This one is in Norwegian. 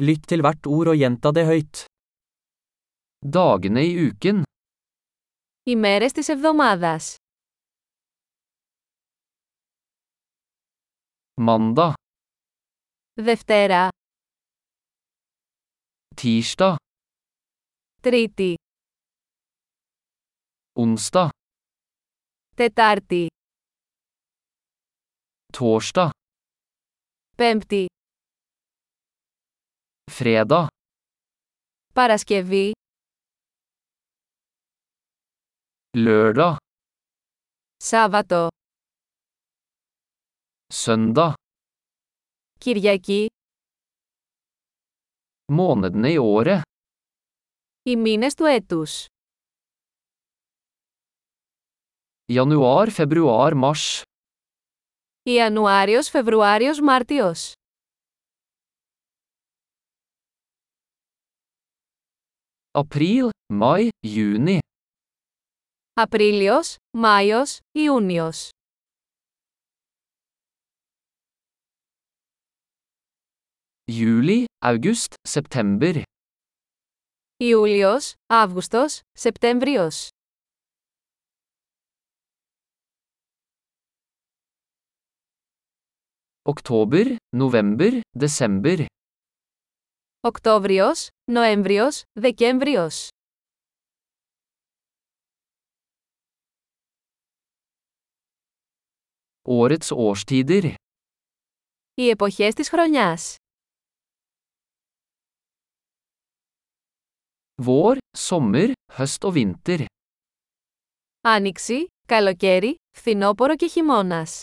Lytt til hvert ord og gjenta det høyt. Dagene i uken. Οι μέρες της εβδομάδας. Mandag, Δευτέρα, tirsdag, Τρίτη, onsdag, Τετάρτη, torsdag, Πέμπτη, fredag, Παρασκευή, lørdag, Σάββατο, søndag. Κυριακή, Månedene i året. οι μήνες του έτους. Januar, februar, mars. Ιανουάριος, Φεβρουάριος, Μάρτιος. April, mai, juni. Απρίλιος, Μάιος, Ιούνιος. Juli, august, september. Ιούλιος, Αύγουστος, Σεπτέμβριος. Oktober, november, desember. Οκτώβριος, Νοέμβριος, Δεκέμβριος. Årets årstider. Οι εποχές της χρονιάς. Vår, sommer, høst og vinter. Άνοιξη, καλοκαίρι, φθινόπορο και χειμώνας.